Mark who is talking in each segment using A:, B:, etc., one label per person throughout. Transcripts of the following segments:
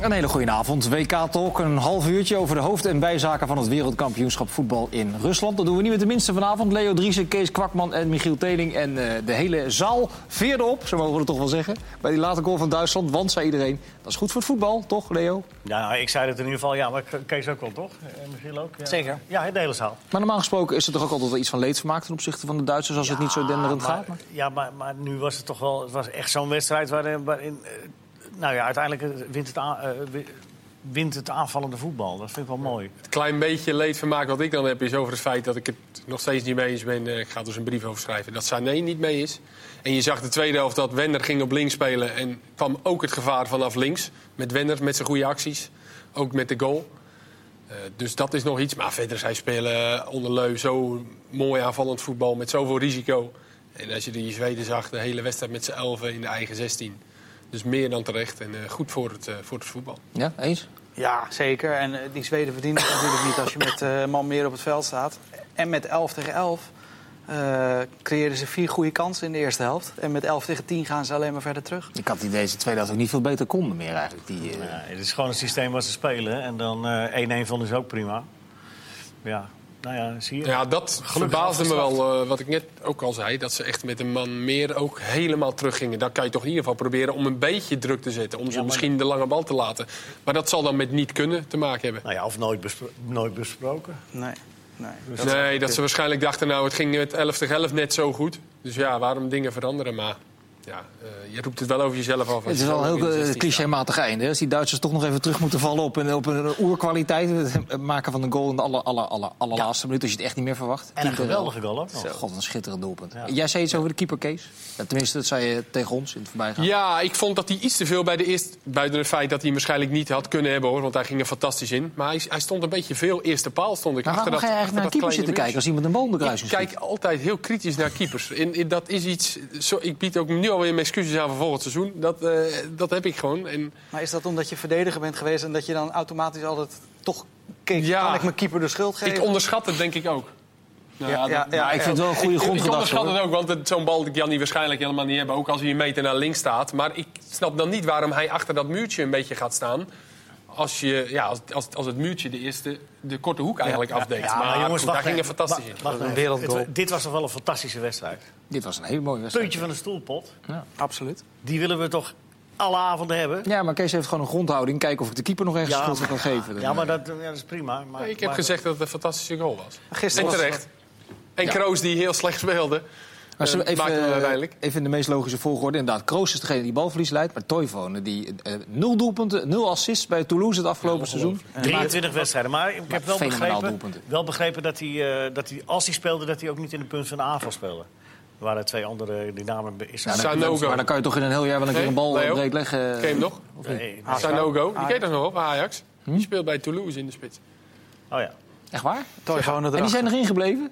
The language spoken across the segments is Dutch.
A: Een hele goede avond. WK Talk, een half uurtje over de hoofd- en bijzaken van het wereldkampioenschap voetbal in Rusland. Dat doen we niet met de minste vanavond. Leo Driessen, Kees Kwakman en Michiel Teling. En eh, de hele zaal veerde op, zo mogen we het toch wel zeggen. Bij die late goal van Duitsland. Want, zei iedereen, dat is goed voor het voetbal, toch Leo?
B: Ja, nou, ik zei het in ieder geval. Ja, maar Kees ook wel, toch? En Michiel ook? Ja.
C: Zeker.
B: Ja, de hele zaal.
A: Maar normaal gesproken is er toch ook altijd wel iets van leedvermaak ten opzichte van de Duitsers als het niet zo denderend
B: maar,
A: gaat. Maar...
B: Ja, maar, maar nu was het toch wel... Het was echt zo'n wedstrijd waarin... waarin eh, nou ja, uiteindelijk eh, wint het, aan- eh, wi- wint het aanvallende voetbal. Dat vind ik wel mooi.
D: Het klein beetje leedvermaak wat ik dan heb is over het feit dat ik het nog steeds niet mee eens ben. Eh, Ik ga er dus een brief over schrijven. Dat Sané niet mee is. En je zag de tweede helft dat Wender ging op links spelen. En kwam ook het gevaar vanaf links. Met Wender, met zijn goede acties. Ook met de goal. Eh, dus dat is nog iets. Maar verder, zij spelen onder Leu zo mooi aanvallend voetbal. Met zoveel risico. En als je die Zweden zag, de hele wedstrijd met z'n elfen in de eigen 16. Dus meer dan terecht. En eh, goed voor het, eh, voor het voetbal.
A: Ja, eens?
C: Ja, zeker. En eh, die Zweden verdienen het natuurlijk niet als je met eh, man meer op het veld staat. En met 11 tegen 11 eh creëerden ze vier goede kansen in de eerste helft. En met 11 tegen 10 gaan ze alleen maar verder terug.
A: Ik had die deze tweede helft ook niet veel beter konden meer eigenlijk. Die, eh,
B: Ja, het is gewoon het systeem wat ze spelen. En dan eh, 1-1 vonden ze ook prima. Ja, nou ja, zie je.
D: Ja, dat verbaasde me wel, eh, wat ik net ook al zei. Dat ze echt met een man meer ook helemaal teruggingen. Dan kan je toch in ieder geval proberen om een beetje druk te zetten. Om ze
B: maar-
D: misschien de lange bal te laten. Maar dat zal dan met niet kunnen te maken hebben.
B: Nou ja, of nooit, bespro- nooit besproken.
C: Nee, nee.
D: nee, dat ze waarschijnlijk dachten, nou, het ging met 11 tegen 11 net zo goed. Dus ja, waarom dingen veranderen? Maar ja, eh, je roept het wel over jezelf af. als
A: Het is
D: je
A: wel
D: zelf
A: een
D: in de
A: heel eh,
D: 16 staat.
A: clichématig einde. hè. Als die Duitsers toch nog even terug moeten vallen op een, op een eh, oerkwaliteit. Het maken van een goal in de aller, aller, aller, allerlaatste minuut. Als je het echt niet meer verwacht.
B: En een
A: Keeper
B: geweldige goal ook nog.
A: wel. God, een schitterend doelpunt.
B: Ja.
A: Jij zei iets over de keeper, Kees. Ja, tenminste, dat zei je tegen ons in het voorbijgaan.
D: Ja, ik vond dat hij iets te veel bij de eerste... Buiten het feit dat hij hem waarschijnlijk niet had kunnen hebben, hoor. Want hij ging er fantastisch in. Maar hij, hij stond een beetje veel eerste paal, stond ik.
A: Maar waarom
D: achter
A: ga je
D: dat,
A: Nou, eigenlijk naar een
D: achter
A: keeper zitten
D: dat kleine
A: kijken als iemand een boom
D: Ik
A: bekruising schiet?
D: kijk altijd heel kritisch naar keepers. En, en dat is iets. Zo, ik bied ook nu alweer mijn excuses aan voor volgend seizoen. Dat, eh, dat heb ik gewoon. En,
C: Maar is dat omdat je verdediger bent geweest en dat je dan automatisch altijd toch keek...
D: Ja.
C: kan ik mijn keeper de schuld geven?
D: ik onderschat het, denk ik ook. Nou,
C: Ja,
D: dat-
C: ja, ja,
A: Ja, ik vind het wel een goede
D: ik- Ik
A: grondgedachte.
D: onderschat
A: hoor.
D: het ook, want het- zo'n bal kan hij waarschijnlijk helemaal niet hebben. Ook als hij een meter naar links staat. Maar ik snap dan niet waarom hij achter dat muurtje een beetje gaat staan. Als, je, ja, als, als, als het muurtje de eerste, de korte hoek eigenlijk afdeed. maar goed, daar ging
B: even.
D: het fantastisch in.
B: Wa- wacht
C: Een
B: even.
C: wereldgoal.
B: Het- Dit was toch wel een fantastische wedstrijd.
A: Dit was een hele mooie wedstrijd.
B: Puntje van de stoelpot.
C: Absoluut.
B: Die willen we toch alle avonden hebben?
A: Ja, maar Kees heeft gewoon een grondhouding. Kijken of ik de keeper nog ergens schuld kan geven. Dan,
B: Ja, maar
A: eh,
B: dat, ja, dat is prima. Maar,
D: Ik heb
B: maar-
D: gezegd dat het een fantastische goal was.
C: Gisteren
D: En
C: was-
D: terecht. En Kroos die heel slecht speelde.
A: Maar zullen we
D: Eh,
A: even,
D: maakte hem
A: eh,
D: uiteindelijk.
A: even in de meest logische volgorde. Inderdaad, Kroos is degene die balverlies leidt. Maar Toivonen, die eh, nul doelpunten, nul assists bij Toulouse het afgelopen seizoen.
B: 23 wedstrijden. Maar ik heb wel
A: fenomenaal
B: begrepen,
A: doelpunten.
B: wel begrepen dat, hij, eh, dat hij, als hij speelde, dat hij ook niet in de punt van de aanval speelde. Er waren twee andere die namen. be- Is
A: Ja, dan-
D: Sanogo.
A: Maar dan kan je toch in een heel jaar wel een keer een bal
D: Nee,
A: eh,
D: Leo.
A: breed leggen.
D: Ken je hem nog?
B: nee, nee.
D: Sanogo, die ken je toch nog op Ajax? Die speelt bij Toulouse in de spits.
B: Oh ja.
A: Echt waar?
C: Toivonen
A: En die
C: erachter.
A: zijn erin gebleven?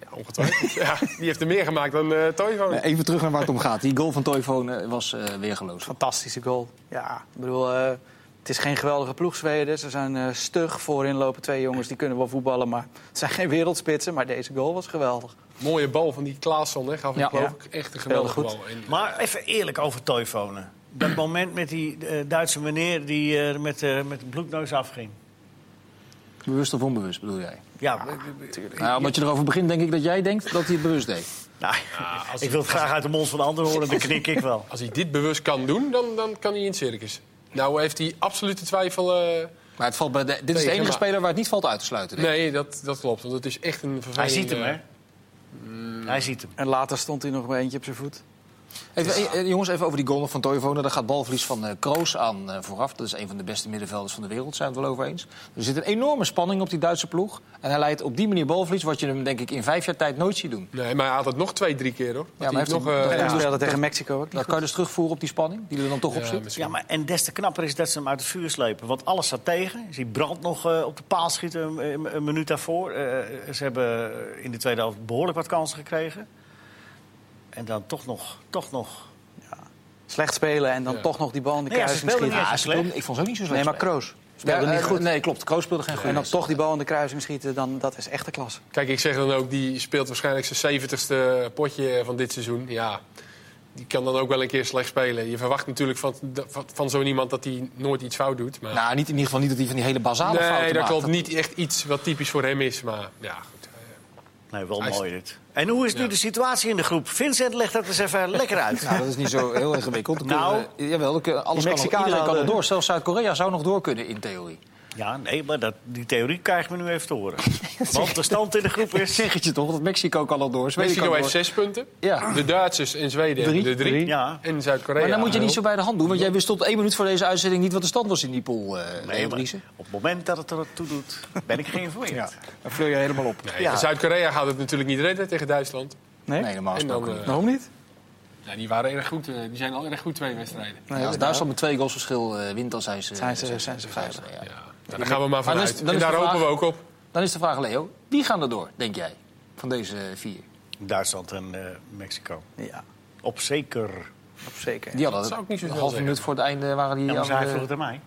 D: Ja, ongetwijfeld. ja, die heeft er meer gemaakt dan eh Toivonen.
A: Even terug naar waar het om gaat. Die goal van Toivonen was eh weergeloos.
C: Fantastische goal. Ja, ik bedoel, eh, het is geen geweldige ploeg Zweden. Ze zijn eh, stug. Voorin lopen twee jongens, die kunnen wel voetballen. Maar het zijn geen wereldspitsen, maar deze goal was geweldig.
D: Mooie bal van die Klaasson, hè. Gaf hem
A: Ja.
D: geloof
C: Ja.
D: ik echt een geweldige
C: Speelde
D: bal. En,
B: Maar even eerlijk over Toivonen. Dat moment met die eh, Duitse meneer die eh, met, eh, met de bloedneus afging.
A: Bewust of onbewust bedoel jij?
B: Ja,
D: Ah,
B: eh,
A: Nou, omdat je erover begint, denk ik dat jij denkt dat hij het bewust deed.
B: nou,
D: ah, als-
B: ik wil het graag uit de mond van de anderen horen, dan knik ik wel.
D: als hij dit bewust kan doen, dan, dan kan hij in het circus. Nou heeft hij absolute twijfel. eh,
A: Maar het valt bij de- dit is de
D: Tegen,
A: enige
D: maar-
A: speler waar het niet valt uit te sluiten. denk ik.
D: nee, dat, dat klopt. Want het is echt een vervelende...
B: Hij ziet hem, hè? Hij ziet hem.
C: En later stond hij nog maar eentje op zijn voet.
A: Even, eh, eh, jongens, even over die goal nog van Toivonen. Daar gaat balverlies van eh, Kroos aan eh, vooraf. Dat is een van de beste middenvelders van de wereld, zijn we het wel over eens. Er zit een enorme spanning op die Duitse ploeg. En hij leidt op die manier balverlies, wat je hem denk ik in vijf jaar tijd nooit ziet doen.
D: Nee, maar hij had het nog twee, drie keer, hoor.
A: maar
D: Had hij
A: heeft
D: nog,
A: hij-
D: eh,
A: dat
C: En
A: Ja,
C: toen
A: dus-
C: speelde tegen Mexico ook.
A: Dat kan je dus terugvoeren op die spanning, die er dan toch op
D: ja,
A: zit.
D: misschien.
B: Ja, maar en des te knapper is dat ze hem uit het vuur slepen. Want alles staat tegen. Ze brand nog eh, op de paal schieten een, een- een minuut daarvoor. Eh, ze hebben in de tweede helft behoorlijk wat kansen gekregen. En dan toch nog, toch nog.
C: Slecht spelen en dan
D: Ja.
C: toch nog die bal in de
B: Nee, ja, ze
C: kruising
B: speelden
C: schieten.
B: niet
A: Ja,
B: is
A: ze
B: slecht.
A: speelden- ik vond ze ook niet zo slecht.
C: Nee, maar
A: spelen.
C: Kroos speelde
A: Ja,
C: niet
A: eh,
C: goed.
A: Nee, klopt. Kroos speelde geen
C: En
A: goede
C: dan
A: wedstrijd.
C: toch die bal in de kruising schieten, dan, dat is echte klas.
D: Kijk, ik zeg dan ook, die speelt waarschijnlijk zijn 70ste potje van dit seizoen. Ja, die kan dan ook wel een keer slecht spelen. Je verwacht natuurlijk van, van, van zo iemand dat hij nooit iets fout doet. Maar...
A: Nou, niet, in ieder geval niet dat hij van die hele basale fouten
D: nee, dat
A: maakt.
D: klopt. Niet echt iets wat typisch voor hem is. Maar ja, goed.
B: Nee, wel
D: Hij is-
B: mooi dit. En hoe is nu
D: Ja.
B: de situatie in de groep? Vincent, legt dat eens even lekker uit.
A: Nou, dat is niet zo heel ingewikkeld. Dan
B: Nou,
A: kunnen we- jawel, dan kunnen- alles kan
B: die
A: nog,
B: Mexicanen
A: iedereen kan nog
B: hadden-
A: door. Zelfs Zuid-Korea zou nog door kunnen in theorie.
B: Ja, nee, maar dat, die theorie krijgen we nu even te horen. Want de stand in de groep
A: Ik
B: is...
A: zeg het je toch, dat Mexico kan al door. Zweden
D: Mexico
A: kan
D: heeft
A: door.
D: zes punten.
A: Ja.
D: De Duitsers en Zweden
A: Drie.
D: hebben de drie.
A: Drie.
B: Ja.
D: En Zuid-Korea.
A: Maar dan moet je niet zo
D: nul.
A: bij de hand doen. Want jij wist tot één minuut voor deze uitzending niet wat de stand was in die pool, eh
B: Nee,
A: Leo
B: maar
A: Driessen.
B: op het moment dat het er toe doet, ben ik geïnformeerd.
A: Ja, dan vul je helemaal op.
D: Nee,
B: Ja.
D: Zuid-Korea gaat het natuurlijk niet redden tegen Duitsland.
C: Nee?
A: Nee, normaal
D: En dan,
A: gesproken.
D: eh,
C: Waarom niet?
D: ja, die waren erg goed. eh, die zijn al erg goed twee wedstrijden.
A: Ja, als Duitsland met twee goals verschil eh, wint, dan zijn ze,
C: Zijn ze- zijn ze veilig.
A: Ja.
D: Ja. Nou, daar gaan we maar
A: Maar dan
D: vanuit.
A: is- dan
D: en
A: is de
D: daar hopen
A: vraag-
D: we ook op.
A: Dan is de vraag, Leo, wie gaan er door, denk jij, van deze vier?
B: Duitsland en eh, Mexico.
C: Ja,
B: Op zeker.
C: op zeker.
A: Die hadden
D: zou ik niet zo
A: een
D: snel
A: half
D: zeggen.
A: minuut voor het einde waren die
B: Ja, maar
A: aan
B: zij
A: de-
B: vroeg het aan mij.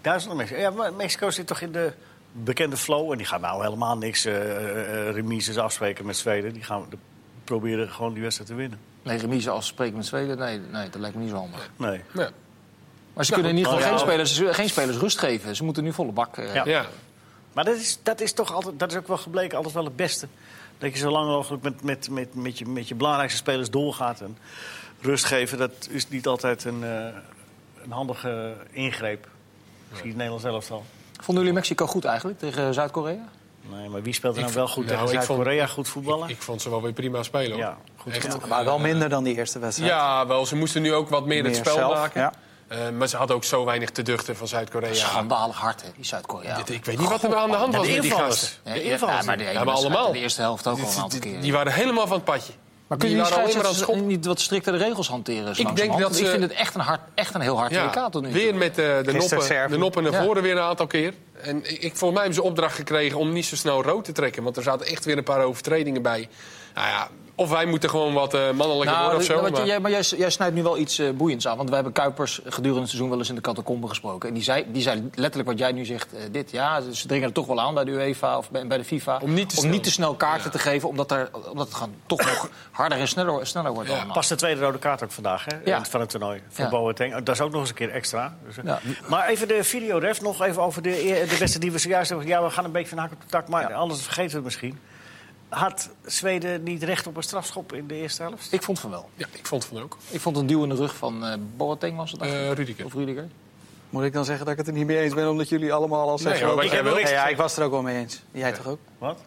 B: Duitsland en Mexico. Ja, maar Mexico zit toch in de bekende flow. En die gaan nou helemaal niks eh eh, remises afspreken met Zweden. Die gaan de- proberen gewoon die wedstrijd te winnen.
A: Nee, remise als spreken met Zweden, nee, nee, dat lijkt me niet zo handig.
B: Nee.
D: Ja.
A: Maar ze kunnen in ieder
B: maar
A: geval geen,
B: ja.
A: spelers, geen spelers rust geven. Ze moeten nu volle bak... eh,
B: Ja.
D: Ja.
B: Maar dat is, dat is toch altijd, dat is ook wel gebleken, altijd wel het beste. Dat je zo lang mogelijk met, met, met, met, je, met je belangrijkste spelers doorgaat. En rust geven, dat is niet altijd een, eh, een handige ingreep. Misschien het Nederlands elftal.
A: Vonden jullie Mexico goed eigenlijk tegen Zuid-Korea?
B: Nee, maar wie speelt er
D: Ik
B: nou wel
D: vond-
B: goed
D: nou,
B: tegen
D: ik vond-
B: Zuid-Korea? Goed voetballen?
D: Ik vond ze wel weer prima spelen. Hoor.
B: Ja, goed
D: Echt.
B: genoeg.
C: Maar wel minder dan die eerste wedstrijd.
D: Ja, wel. Ze moesten nu ook wat meer, het
C: Meer
D: spel
C: zelf,
D: maken.
C: ja.
D: Eh, maar ze hadden ook zo weinig te duchten van Zuid-Korea.
A: Schandalig hard, hè, die Zuid-Korea.
D: Dit- Ik weet niet wat er aan de hand was
B: de
D: met die
B: invallers.
D: gasten.
A: Ja,
B: de
A: ja,
B: invallers.
A: ja, maar die ene
D: maar
A: wedstrijd
D: allemaal.
A: in de eerste helft ook al een aantal
D: Die-
A: keer.
D: Die waren helemaal van het padje.
A: Maar kunnen jullie
D: waren alleen
A: scheidsrechters niet wat striktere regels hanteren?
D: denk
A: langzamerhand?
D: dat
A: Want
D: ze-
A: Ik vind het echt een, hard, echt een heel hard
D: Ja,
A: WK tot nu toe.
D: weer met eh, de, noppen,
C: Servië.
D: de noppen naar
A: Ja.
D: voren weer een aantal keer. En ik, ik- volgens mij hebben ze opdracht gekregen om niet zo snel rood te trekken. Want er zaten echt weer een paar overtredingen bij. Nou ja, of wij moeten gewoon wat eh, mannelijker
A: Nou,
D: worden of
A: d-
D: zo.
A: want
D: maar-
A: jij, maar jij, jij snijdt nu wel iets eh, boeiends aan. Want wij hebben Kuipers gedurende het seizoen wel eens in de catacombe gesproken. En die zei, die zei letterlijk wat jij nu zegt, eh, dit. Ja, ze dringen er toch wel aan bij de UEFA of bij, bij de FIFA.
D: Om niet te snel.
A: snel kaarten te geven, omdat, er, omdat het gewoon toch nog harder en sneller, sneller wordt
D: Ja,
A: allemaal.
B: Pas de tweede rode kaart ook vandaag hè?
A: Ja.
B: van het toernooi. Voor
A: Ja.
B: Boateng. Oh, Dat is ook nog eens een keer extra. Dus, eh,
A: Ja.
B: Maar even de videoref nog even over de, de wedstrijd die we zojuist hebben. Ja, we gaan een beetje van hak op de tak, maar anders vergeten we het misschien. Had Zweden niet recht op een strafschop in de eerste helft?
A: Ik vond van wel.
D: Ja, ik vond van ook.
A: Ik vond een duw in de rug van eh Boateng was het eigenlijk?
D: Eh, Rudiger.
A: Of Rudiger.
C: Moet ik dan zeggen dat ik het er niet mee eens ben omdat jullie allemaal al zeggen...
D: hoor,
C: dat-
D: wat
B: jij wil.
C: Ja, ja, ik was er ook wel mee eens. Jij toch ook?
B: Wat?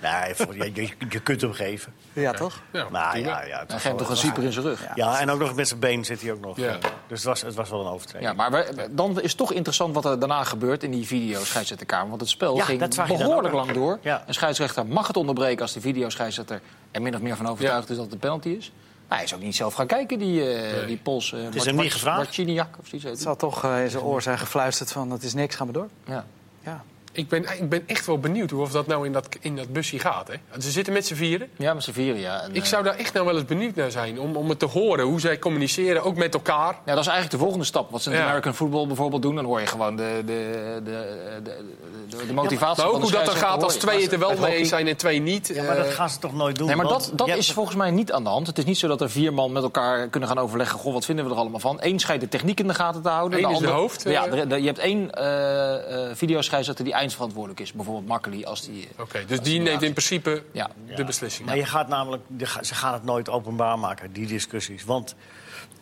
B: Nee, voor- je, je, je kunt hem geven.
C: Ja, toch?
D: Ja,
B: Nou
D: prima.
B: ja, ja, het
A: Hij
B: was
A: geeft
B: wel-
A: toch een super in zijn rug.
B: ja, en ook nog met zijn been zit hij ook nog.
D: Ja.
B: Dus het was, het was wel een overtreding.
A: Ja, maar we- dan is het toch interessant wat er daarna gebeurt in die video scheidsrechterkamer. Want het spel
B: Ja, dat
A: ging
B: zag je dan
A: behoorlijk
B: ook.
A: lang door.
B: Ja.
A: Een scheidsrechter mag het onderbreken als de videoscheidsrechter er min of meer van overtuigd is dat het een penalty is. Maar hij is ook niet zelf gaan kijken, die, eh die Pols. eh
B: is hem niet gevraagd.
A: Marciniak of zoiets. heet
C: Het
A: hij.
C: zal toch eh, in zijn oor zijn gefluisterd van het is niks, ga maar door.
A: Ja.
C: Ja.
D: Ik, ben, ik ben echt wel benieuwd hoe of dat nou in dat, in dat busje gaat. Hè. Ze zitten met z'n vieren.
A: ja, met z'n vieren, ja. En,
D: Ik
A: eh,
D: zou daar echt nou wel eens benieuwd naar zijn. Om, om het te horen, hoe zij communiceren, ook met elkaar.
A: ja, dat is eigenlijk de volgende stap. Wat ze in
D: Ja.
A: American Football bijvoorbeeld doen, dan hoor je gewoon de, de, de, de, de, de motivatie
D: Maar ook
A: van de
D: hoe dat er
A: scheidsrechter
D: gaat als
A: hoor je.
D: twee het er
A: Bij
D: wel
A: het
D: mee
A: hockey-
D: eens zijn en twee niet.
B: Ja, maar dat
D: Eh,
B: gaan ze toch nooit doen?
A: Nee, maar
B: want
A: dat, dat
B: je hebt-
A: is volgens mij niet aan de hand. Het is niet zo dat er vier man met elkaar kunnen gaan overleggen... goh, wat vinden we er allemaal van? Eén schijnt de techniek in de gaten te houden.
D: Eén is de hoofd, eh.
A: Ja, de- de- je hebt één eh eh videoscheidsrechter die eindverantwoordelijk is. Bijvoorbeeld Makkeli als die... eh,
B: Oh,
D: Oké, dus die neemt in principe
A: Ja.
D: de beslissing.
B: Maar je gaat namelijk, je ga- ze gaan het nooit openbaar maken, die discussies. Want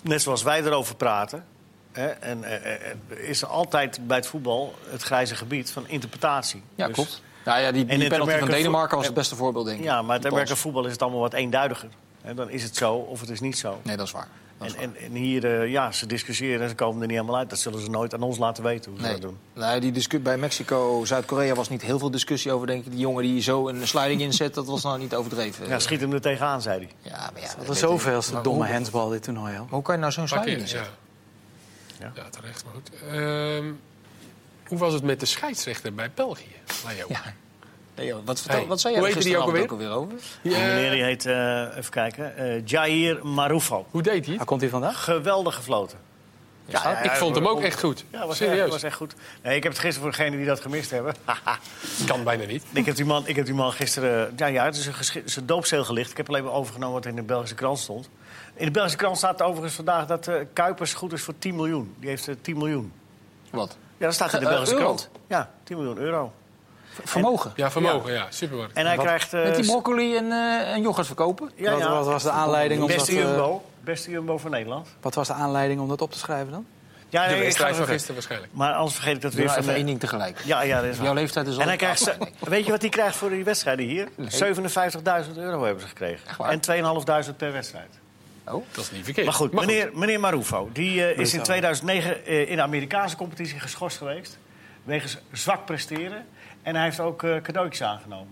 B: net zoals wij erover praten, hè, en, eh, eh, eh, is er altijd bij het voetbal het grijze gebied van interpretatie.
A: Ja,
B: Dus-
A: klopt. Ja, ja, die, die
B: in het
A: penalty van
B: Amerika-
A: Denemarken was het beste voorbeeld, denk ik.
B: Ja, maar het
A: Die
B: Amerikaanse
A: pas.
B: voetbal is het allemaal wat eenduidiger. En dan is het zo of het is niet zo.
A: Nee, dat is waar. Dat is
B: En, en, en hier, eh, ja, ze discussiëren en ze komen er niet helemaal uit. Dat zullen ze nooit aan ons laten weten hoe ze
A: Nee.
B: dat doen.
A: Nee, die discu- bij Mexico, Zuid-Korea was niet heel veel discussie over, denk ik. Die jongen die zo een sliding inzet, dat was nou niet overdreven.
B: Ja, schiet hem er tegenaan, zei hij.
A: Ja, maar ja,
C: Wat
A: weet
C: een
A: ik.
C: zoveelste
A: Maar
C: domme
A: hoe-
C: handsbal dit toernooi al.
A: maar Hoe kan je nou zo'n
D: Pak
A: sliding
D: in,
A: inzetten?
D: ja.
B: Ja.
D: ja, terecht. Maar goed. Ehm, hoe was het met de scheidsrechter bij België? Leo?
A: Ja. Leo, wat, vertel,
D: Hey,
A: wat zei jij
D: hoe
A: er
D: heette die ook
A: gisteravond ook alweer over?
D: Die,
B: Die
D: eh,
B: meneer die heet, eh, even kijken, eh Jair Marufo.
D: hoe deed hij
C: Waar
D: het?
C: komt hij vandaag?
B: Geweldig gefloten.
D: Ja, ik vond hem ook echt goed.
B: Ja, was
D: Serieus.
B: Echt, was echt goed. Nee, ik heb het gisteren voor degenen die dat gemist hebben.
D: Kan bijna niet.
B: ik, heb die man, ik heb die man gisteren. Ja, ja het is een, geschi- het is een doopcel gelicht. Ik heb alleen maar overgenomen wat in de Belgische krant stond. In de Belgische krant staat overigens vandaag dat eh, Kuipers goed is voor 10 miljoen. Die heeft eh, 10 miljoen.
A: Wat?
B: Ja, dat staat in de
A: Eh,
B: Belgische
A: euro?
B: krant. Ja, 10 miljoen euro.
A: Vermogen.
D: Ja, vermogen, ja. Supermarkt.
B: En hij krijgt. eh,
A: Met die broccoli en, eh, en yoghurt verkopen.
B: ja,
C: Wat,
B: ja.
C: wat was de aanleiding om dat,
B: Beste
C: eh,
B: Jumbo. Beste Jumbo van Nederland.
C: wat was de aanleiding om dat op te schrijven dan?
B: Ja,
D: De
B: nee, ik ga
D: wedstrijd
B: het
D: van
B: zeggen.
D: gisteren waarschijnlijk.
B: Maar anders vergeet ik dat
A: Doe
B: weer
A: maar
B: van
A: even
B: de-
A: één ding tegelijk.
B: Ja, ja, dat is waar.
A: Jouw leeftijd is al...
B: En hij krijgt, ze- weet je wat hij krijgt voor die wedstrijden hier? 57.000 euro hebben ze gekregen.
A: waar?
B: En 2.500 per wedstrijd.
A: Oh.
D: Dat is niet verkeerd.
B: Maar goed, meneer, meneer Marufo, die eh, is in 2009 eh, in de Amerikaanse competitie geschorst geweest. Wegens zwak presteren. En hij heeft ook eh, cadeautjes aangenomen.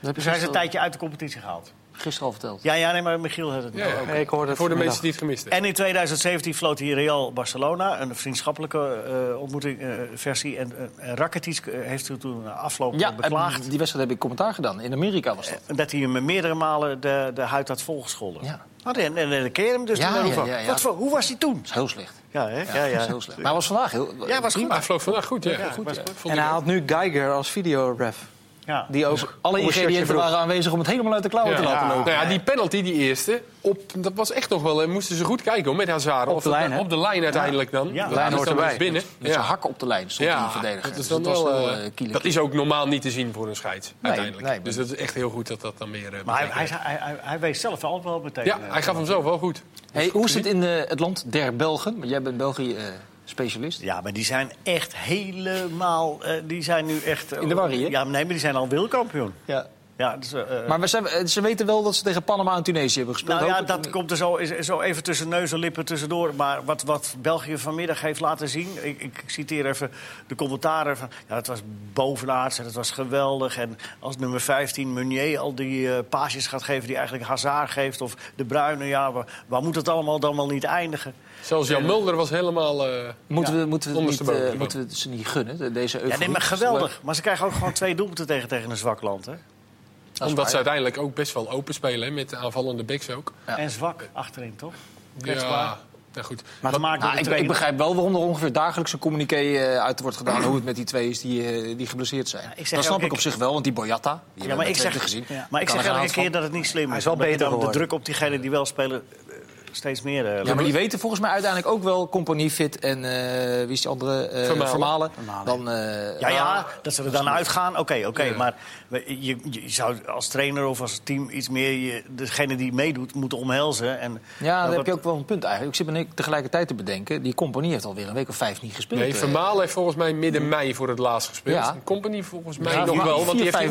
A: Dat heb je
B: Dus hij is een
A: gisteren,
B: tijdje uit de competitie gehaald.
A: gisteren al verteld.
B: Ja, ja, nee, maar Michiel had het niet.
D: Ja, ja.
C: Nee, ik hoorde het
D: Voor de mensen
C: vanmiddag.
D: die het gemist hebben.
B: En in 2017 floot hij Real Barcelona, een vriendschappelijke eh, ontmoeting eh, versie. En eh, Rakitic eh, heeft hij toen na afloop
A: Ja,
B: eh, beklaagd.
A: en die wedstrijd heb ik commentaar gedaan. In Amerika was dat.
B: Dat hij hem meerdere malen de, de huid had volgescholden.
A: Ja.
B: Nou, en, en, en dan keer hem dus
A: Ja,
B: de Maroufo.
A: ja, ja, ja.
B: Wat voor, hoe was hij toen?
A: Dat is heel slecht.
B: Ja, hè? Ja,
A: Dat
B: ja,
A: is heel slecht. Maar hij was vandaag heel...
B: Ja, was
A: prima.
D: Maar hij vloog vandaag goed, ja.
B: Ja,
D: goed,
B: was
D: ja.
B: goed.
D: Vond
C: En
D: ik
C: hij
D: ook.
C: had nu Geiger als videoref.
B: Ja.
C: Die ook
A: Dus Alle
C: om een shirtje
A: ingrediënten
C: vroeg.
A: waren aanwezig om het helemaal uit de klauwen
D: Ja.
A: te laten lopen.
D: Nou ja, die penalty, die eerste, op, dat was echt nog wel... eh, moesten ze goed kijken hoor, met Hazard.
C: Op
D: Of
C: de
D: dat-
C: lijn, hè?
D: Op de lijn uiteindelijk dan.
B: Ja.
D: Dat
B: Lijn
D: is
C: hoort
D: dan
C: erbij.
D: dus binnen.
A: Met zijn hak op de lijn stond die verdediger.
D: dat
A: Dus
D: is dan
A: was
D: wel,
A: wel,
D: eh,
A: eh, kiele-
D: dat is ook normaal niet te zien voor een scheids, uiteindelijk.
A: nee, maar-
D: dus dat is echt heel goed dat dat dan weer... eh,
B: Maar hij, hij,
D: bekeken
B: hij, hij, hij wees zelf al wel meteen.
D: werd. ja,
B: eh,
D: hij gaf hem zelf wel goed.
A: Hey, hoe is het in eh, het land der Belgen? Want jij bent eh, België-specialist.
B: Ja, maar die zijn echt helemaal... eh, die zijn nu echt... eh,
A: In de warrie, hè?
B: Ja, nee, maar die zijn al wereldkampioen.
A: ja.
B: Ja, dus, eh,
A: Maar we zijn, eh, ze weten wel dat ze tegen Panama en Tunesië hebben gespeeld.
B: nou ja,
A: hoop ik.
B: dat komt er zo, is- zo even tussen neus en lippen tussendoor. Maar wat, wat België vanmiddag heeft laten zien... Ik, ik citeer even de commentaren van... Ja, het was bovenaards en het was geweldig. En als nummer 15 Meunier al die eh paasjes gaat geven... die eigenlijk Hazard geeft of De Bruyne... ja, waar, waar moet het allemaal dan wel niet eindigen?
D: Zelfs Jan Mulder was helemaal... eh,
A: Moeten,
B: Ja,
A: we, moeten, we het niet,
D: ondersteboven.
A: eh, moeten we het ze niet gunnen, de- deze euforie?
B: Ja, nee, maar geweldig. Maar ze krijgen ook gewoon twee doelpunten tegen, tegen een zwak land, hè?
A: is
D: omdat
A: waar.
D: ze uiteindelijk ook best wel open spelen, hè, met de aanvallende backs ook.
A: Ja.
B: En zwak achterin, toch?
D: Ja, nou goed.
B: Maar dat maakt
A: Nou,
B: de
A: ik,
B: trainer.
A: ik begrijp wel waarom er ongeveer dagelijks een communiqué eh, uit wordt gedaan... hoe het met die twee is die, eh, die geblesseerd zijn.
B: ik zeg
A: dat snap
B: ook,
A: ik,
B: ik-
A: op zich wel, want die Boyata... Die
B: Ja,
A: hebben
B: maar
A: we
B: ik
A: met
B: zeg,
A: Twente gezien.
B: ja, maar
A: Daar
B: ik
A: kan er
B: zeg
A: geen
B: elke
A: hand
B: keer dat het niet slim is.
C: Hij is wel
B: omdat je
C: beter
B: dan De
C: geworden.
B: druk op diegenen die wel spelen eh, steeds meer. eh,
A: Ja, maar die weten volgens mij uiteindelijk ook wel compagnie fit en eh, wie is die andere eh
D: Vermalen.
A: vermalen.
C: Vermalen.
A: Dan, eh,
B: Ja, ja, dat ze er dan uitgaan, oké, oké. Maar we- je, je zou als trainer of als team iets meer je, degene die meedoet moeten omhelzen. En,
A: ja, daar
B: en
A: heb
B: wat-
A: je ook wel een punt eigenlijk. Ik zit me nu tegelijkertijd te bedenken, die compagnie heeft alweer een week of vijf niet gespeeld.
D: Nee,
A: eh.
D: Vermalen heeft volgens mij midden mei voor het laatst gespeeld.
A: Ja.
D: En Company volgens mij
A: Ja,
D: nog
A: vier,
D: wel, want die heeft die
A: vijf-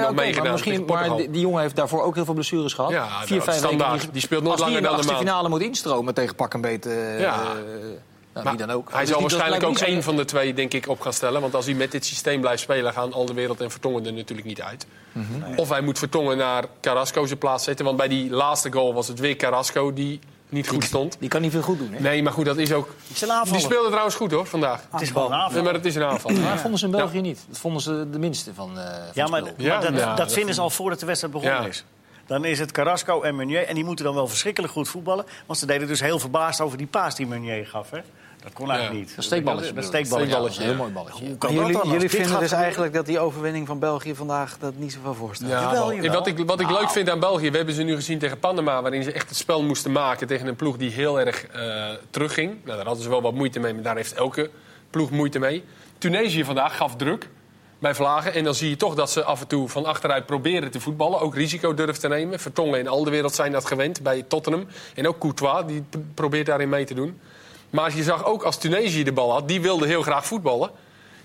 A: ja, maar, eh,
D: nog
A: oké,
D: meegedaan
A: Maar, misschien,
D: tegen Portugal.
A: maar die, die jongen heeft daarvoor ook heel veel blessures gehad.
D: Ja,
A: Vier,
D: dat-
A: vijf weken
D: standaard.
A: niet ge-
D: Die speelt nog
A: Als
D: langer
A: die
D: dan
A: in de
D: een maand.
A: finale moet instromen tegen pak en beet, eh,
D: Ja.
A: eh, nou, wie dan ook.
D: Hij
A: Dus die-
D: zal
A: dat
D: waarschijnlijk ook
A: lijkt me niet zo-
D: één van de twee denk ik, op gaan stellen. Want als hij met dit systeem blijft spelen, gaan al de wereld en Vertongen er natuurlijk niet uit.
A: Mhm.
D: Of hij moet Vertongen naar Carrasco zijn plaats zetten. Want bij die laatste goal was het weer Carrasco die niet goed stond.
A: Die kan niet veel goed doen, hè?
D: Nee, maar goed, dat is ook...
B: is een aanvaller.
D: Die speelde trouwens goed hoor, vandaag.
B: Het is gewoon een aanval.
D: Nee, maar het is een aanval.
A: Maar dat vonden ze in België niet. Dat vonden ze de minste van, eh van
B: Ja, maar,
A: het spul.
B: maar
D: Ja,
B: dat,
D: ja,
B: dat
D: dat
B: vinden ze al voordat de wedstrijd begonnen
D: Ja.
B: is. Dan is het Carrasco en Meunier. En die moeten dan wel verschrikkelijk goed voetballen. Want ze deden dus heel verbaasd over die paas die Meunier gaf. Hè? Dat kon eigenlijk
D: Ja,
B: niet.
A: Een steekballetje.
B: Dat
A: bedoel ik.
B: steekballetje.
A: Ja, dat is een heel
D: ja.
A: mooi balletje.
B: Hoe kan
C: Maar
B: dat
C: jullie
B: dan? Als
C: jullie
B: dit
C: vinden
B: gaat
C: dus
B: gebeuren-
C: eigenlijk dat die overwinning van België vandaag dat niet zoveel voorstelt.
D: Ja,
B: Jawel,
D: wel.
B: jawel.
D: Wat ik, wat ik leuk vind aan België, we hebben ze nu gezien tegen Panama... waarin ze echt het spel moesten maken tegen een ploeg die heel erg eh, terugging. Nou, daar hadden ze wel wat moeite mee, maar daar heeft elke ploeg moeite mee. Tunesië vandaag gaf druk bij Vlagen. En dan zie je toch dat ze af en toe van achteruit proberen te voetballen. Ook risico durven te nemen. Vertongen in al de wereld zijn dat gewend bij Tottenham. En ook Courtois, die pr- probeert daarin mee te doen. Maar je zag ook als Tunesië de bal had, die wilde heel graag voetballen.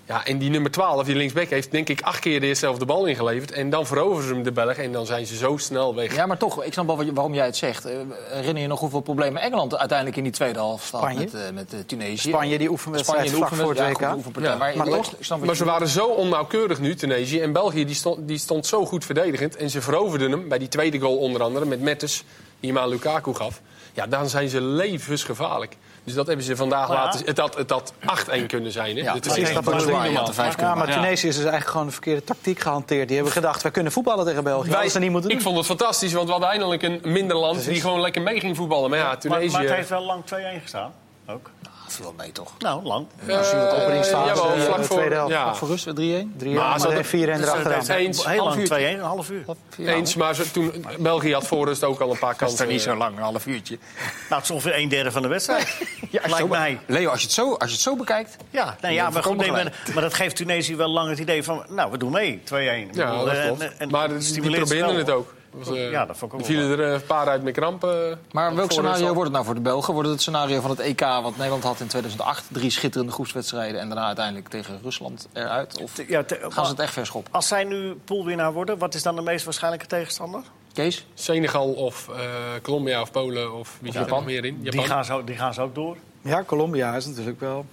D: Ja, en die nummer 12, die linksback, heeft denk ik acht keer de eerste helft de bal ingeleverd. En dan veroveren ze hem de Belgen en dan zijn ze zo snel weg.
A: Ja, maar toch, ik snap wel wat je- waarom jij het zegt. Eh, Herinner je nog hoeveel problemen Engeland uiteindelijk in die tweede helft had
C: Spanje?
A: met, eh, met eh, Tunesië?
C: Spanje, die oefenwedstrijd
A: de
C: vlak voor het
A: oefenwedstrijd,
C: WK.
A: ja, goed, de oefenpartij.
D: Ja.
A: Maar,
C: Maar
A: ik-
C: toch-
A: ik snap wat
D: Maar
A: je
D: ze waren zo onnauwkeurig nu, Tunesië. En België, die stond, die stond zo goed verdedigend. En ze veroverden hem bij die tweede goal onder andere met Mettes, die hem aan Lukaku gaf. Ja, dan zijn ze levensgevaarlijk. Dus dat hebben ze vandaag
B: Maar ja.
D: laten... Het had, het had 8-1 kunnen zijn, hè?
A: Ja,
D: Dit
A: maar
D: echt-
A: ik snap
D: dat
A: wat
D: is
A: je
D: niet
A: bedoelt.
D: normaal.
A: Ja, vijf
C: Ja,
A: kunnen.
C: maar Tunesië is dus eigenlijk gewoon een verkeerde tactiek gehanteerd. Die hebben gedacht, wij kunnen voetballen tegen België. Wij,
D: Wij-
C: dat niet moeten
D: ik
C: doen.
D: vond het fantastisch, want we hadden eindelijk een minder land... die gewoon lekker mee ging voetballen. Maar ja,
B: Maar,
D: Tunesië...
B: maar het heeft wel lang 2-1 gestaan. Ook.
A: Maar veel mee, toch?
B: Nou, lang.
A: Als je wat openingsfase,
D: Eh, jawel,
A: eh,
D: vlak
C: de
D: voor-
C: tweede helft.
D: Ja,
A: Voor rust, 3-1.
C: Drie
B: Maar
C: maar
B: ze hadden-
C: vier en erachteraan.
D: het eens.
B: Heel
A: Half
B: lang, 2-1,
A: uurtje.
B: een half uur.
D: eens. Maar ze- toen, België had voor rust ook al een paar
A: Dat is
D: kansen.
A: toch niet zo lang, een half uurtje.
B: Nou, het is ongeveer een derde van de wedstrijd.
A: Ja, als je
B: Lijkt
A: het zo-
B: mij.
A: Leo, als je, het zo, als je het zo bekijkt...
B: nou Ja, nee, ja maar, goed,
A: voorkomen
B: nee, maar, maar dat geeft Tunesië wel lang het idee van... nou, we doen mee, Eh, 2-1.
D: Ja, dat klopt. maar die probeerden het ook. Dat was, eh,
B: Ja, dat vond ik ook
D: die vielen er eh, een paar uit met krampen.
A: Maar welk
D: Voor
A: scenario
D: Rusland.
A: wordt het nou voor de Belgen? Wordt het het scenario van het EK wat Nederland had in 2008? Drie schitterende groepswedstrijden en daarna uiteindelijk tegen Rusland eruit? Of
B: Ja, te-
A: gaan ze het echt verschop?
B: Als zij nu poolwinnaar worden, wat is dan de meest waarschijnlijke tegenstander?
A: Kees?
D: Senegal of eh, Colombia of Polen of wie zit er nog meer in?
B: Die gaan, ze, ook- die gaan ze ook door.
C: Ja, Colombia is natuurlijk wel...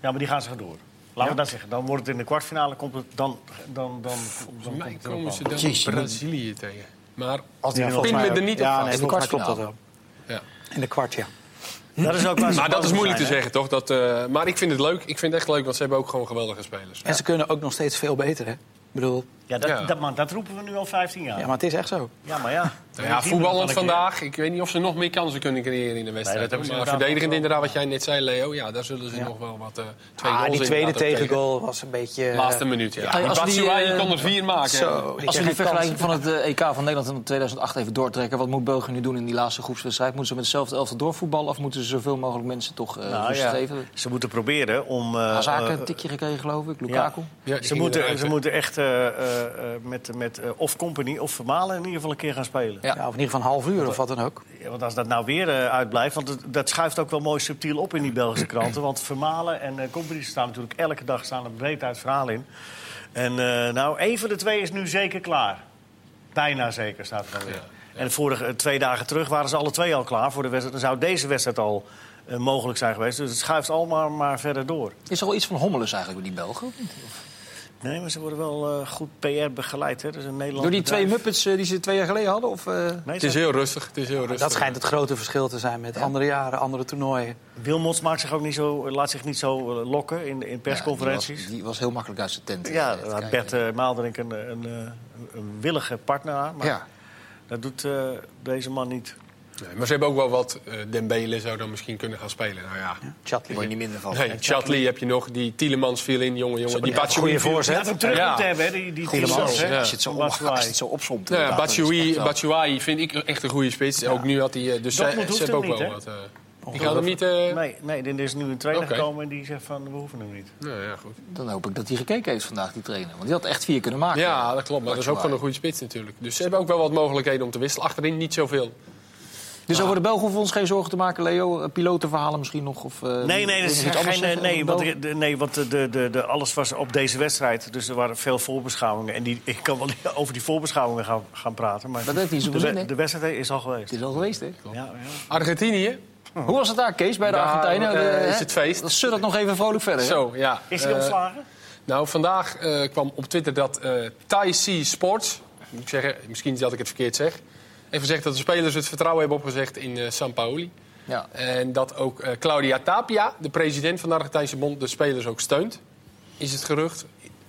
B: Ja, maar die gaan ze door. Laten we dat zeggen. Dan wordt het in de kwartfinale, komt het dan... dan, dan, dan
D: Volgens mij
B: komt het erop
D: komen ze
B: aan.
D: dan
A: Jeez, je moet-
D: Brazilië tegen. Maar
B: Als die
C: Ja,
B: er nog
C: volgens
D: pin
C: mij
D: me
C: ook.
D: er niet op
C: Ja,
D: vast.
C: nee,
A: In de
C: volgens mij klopt dat
A: kwartfinale.
C: wel.
D: Ja.
C: In de kwart, ja.
B: Dat is ook waar ze
D: Maar dat
B: boven
D: is moeilijk te
B: zijn, hè?
D: zeggen, toch? Dat, eh, maar ik vind het leuk. Ik vind het echt leuk, want ze hebben ook gewoon geweldige spelers.
C: En ze kunnen ook nog steeds veel beter, hè? Ik bedoel,
B: Ja, dat,
D: Ja.
B: Dat, maar dat roepen we nu al 15 jaar.
C: ja, maar het is echt zo.
B: Ja, maar ja.
D: Nou ja, voetballend vandaag. Ik weet niet of ze nog meer kansen kunnen creëren in de wedstrijd.
B: hebben ze
D: maar
B: inderdaad
D: verdedigend
B: nog wel.
D: inderdaad, wat jij net zei, Leo. Ja, daar zullen ze nog wel wat eh twee
C: Ah,
D: goals
C: die tweede
D: inderdaad ook
C: tegengoal was een beetje... eh,
D: tegen- Laatste minuut, ja.
A: Ja, als
D: Batshuayi
A: die, eh,
D: kon er vier maken.
C: Zo, die
A: Als we die
C: kreeg geen kans.
A: vergelijking van het eh, EK van Nederland in 2008 even doortrekken... wat moet België nu doen in die laatste groepswedstrijd? Moeten ze met hetzelfde elftal doorvoetballen... of moeten ze zoveel mogelijk mensen toch eh
B: Nou,
A: rust
B: ja.
A: geven?
B: Ze moeten proberen om... eh,
A: Hazard
B: eh,
A: een tikje gekregen, geloof ik.
B: ja.
A: Lukaku.
D: Ja, die
B: ze,
D: ging
B: moeten,
D: eruit,
B: ze
D: hè.
B: moeten echt eh, eh, eh, met, met eh, of Company of Vermalen in ieder geval een keer gaan spelen.
A: Ja.
C: Ja, of in ieder geval een half uur of wat dan ook.
B: Ja, want als dat nou weer eh, uitblijft, want het- dat schuift ook wel mooi subtiel op in die Belgische kranten. Want Vermalen en eh Company staan natuurlijk elke dag staan er breed uit verhaal in. En eh, nou, één van de twee is nu zeker klaar. Bijna zeker staat er dan weer. En de vorige eh, twee dagen terug waren ze alle twee al klaar voor de wedstrijd. Dan zou deze wedstrijd al eh, mogelijk zijn geweest. Dus het schuift allemaal maar verder door.
A: Is er al iets van hommeles eigenlijk bij die Belgen? of niet?
B: Nee, maar ze worden wel eh, goed PR begeleid. Hè? Dus een Nederland
A: Door die twee
B: bedrijf.
A: muppets eh, die ze twee jaar geleden hadden? Of, eh,
B: Nee,
D: Het is
B: ze-
D: heel rustig. Het is heel rustig.
C: Dat schijnt het grote verschil te zijn met andere jaren, andere toernooien.
B: Wilmots maakt zich ook niet zo, laat zich niet zo eh, lokken in, in
A: Ja, die,
B: persconferenties.
A: was, die was heel makkelijk uit zijn tent. eh,
B: Ja,
A: te
B: daar had
A: kijken.
B: Bert eh, Maalderink een, een, eh, een willige partner aan. Maar
A: Ja.
B: dat doet eh, deze man niet.
D: Nee, maar ze hebben ook wel wat. eh Dembele zou dan misschien kunnen gaan spelen. Nou ja.
A: Daar word je niet minder van.
D: Nee, Chatley heb je nog. Die Tielemans viel in, jongen, jongen. Die Batshuayi viel-
B: Je had hem terug
D: Ja.
B: moeten hebben, hè, die, die
A: Goede
B: Tielemans,
A: man,
B: hè?
A: hè? Als je het zo,
B: Wat
A: opzomt, als je
B: zwaai.
A: het zo opzomt.
D: Nou ja,
A: inderdaad, dan is het echt
D: Batshuayi,
A: wel-
D: Batshuayi vind ik echt een goede spits. Ook nu had hij... eh, Dus
B: Dat
D: zij-
B: moet- hoeft
D: ze hebben ook
B: hem
D: wel wat...
B: niet,
D: eh, die gaan hem niet... eh,
B: Nee, nee, er is nu een trainer
D: Oké.
B: gekomen en die zegt van, we hoeven hem niet.
D: Nou ja, goed.
A: Dan hoop ik dat hij gekeken heeft vandaag, die trainer. Want die had echt vier kunnen maken.
D: Ja, dat klopt. Maar dat is ook gewoon een goede spits natuurlijk. Dus ze hebben ook wel wat mogelijkheden om te wisselen. Achterin niet zoveel.
A: Dus over de Belgen hoeven we ons geen zorgen te maken, Leo. Eh, Pilotenverhalen misschien nog? Of, eh,
B: Nee,
A: wil je
B: nee,
A: nog
B: dat is
A: iets anders
D: eh,
B: geen,
A: zeggen
B: nee,
A: over
B: want,
A: de
B: er- de- nee, want de, de, de, de- alles was op deze wedstrijd. Dus er waren veel voorbeschouwingen. En die, ik kan wel over die voorbeschouwingen gaan, gaan praten. Maar
A: Dat heeft niet zoveel
B: de,
A: zin,
B: we-
A: hè?
B: de wedstrijd is al geweest.
A: Het is al geweest, hè?
B: Ja, ja.
D: Argentinië?
A: Hoe was het daar, Kees, bij de
D: Daar,
A: Argentijnen?
D: eh,
A: De-
D: is
A: hè?
D: het feest.
A: Dan Zullen dat nog even vrolijk verder, hè?
D: Zo, ja.
B: Is hij
D: Eh,
B: ontslagen?
D: Nou, vandaag eh, kwam op Twitter dat eh Thai Sea Sports... Moet ik zeggen, misschien dat ik het verkeerd zeg... Even gezegd dat de spelers het vertrouwen hebben opgezegd in eh San Paoli.
A: Ja. Nou,
D: En dat ook eh, Claudia Tapia, de president van de Argentijnse Bond, de spelers ook steunt. Is het gerucht.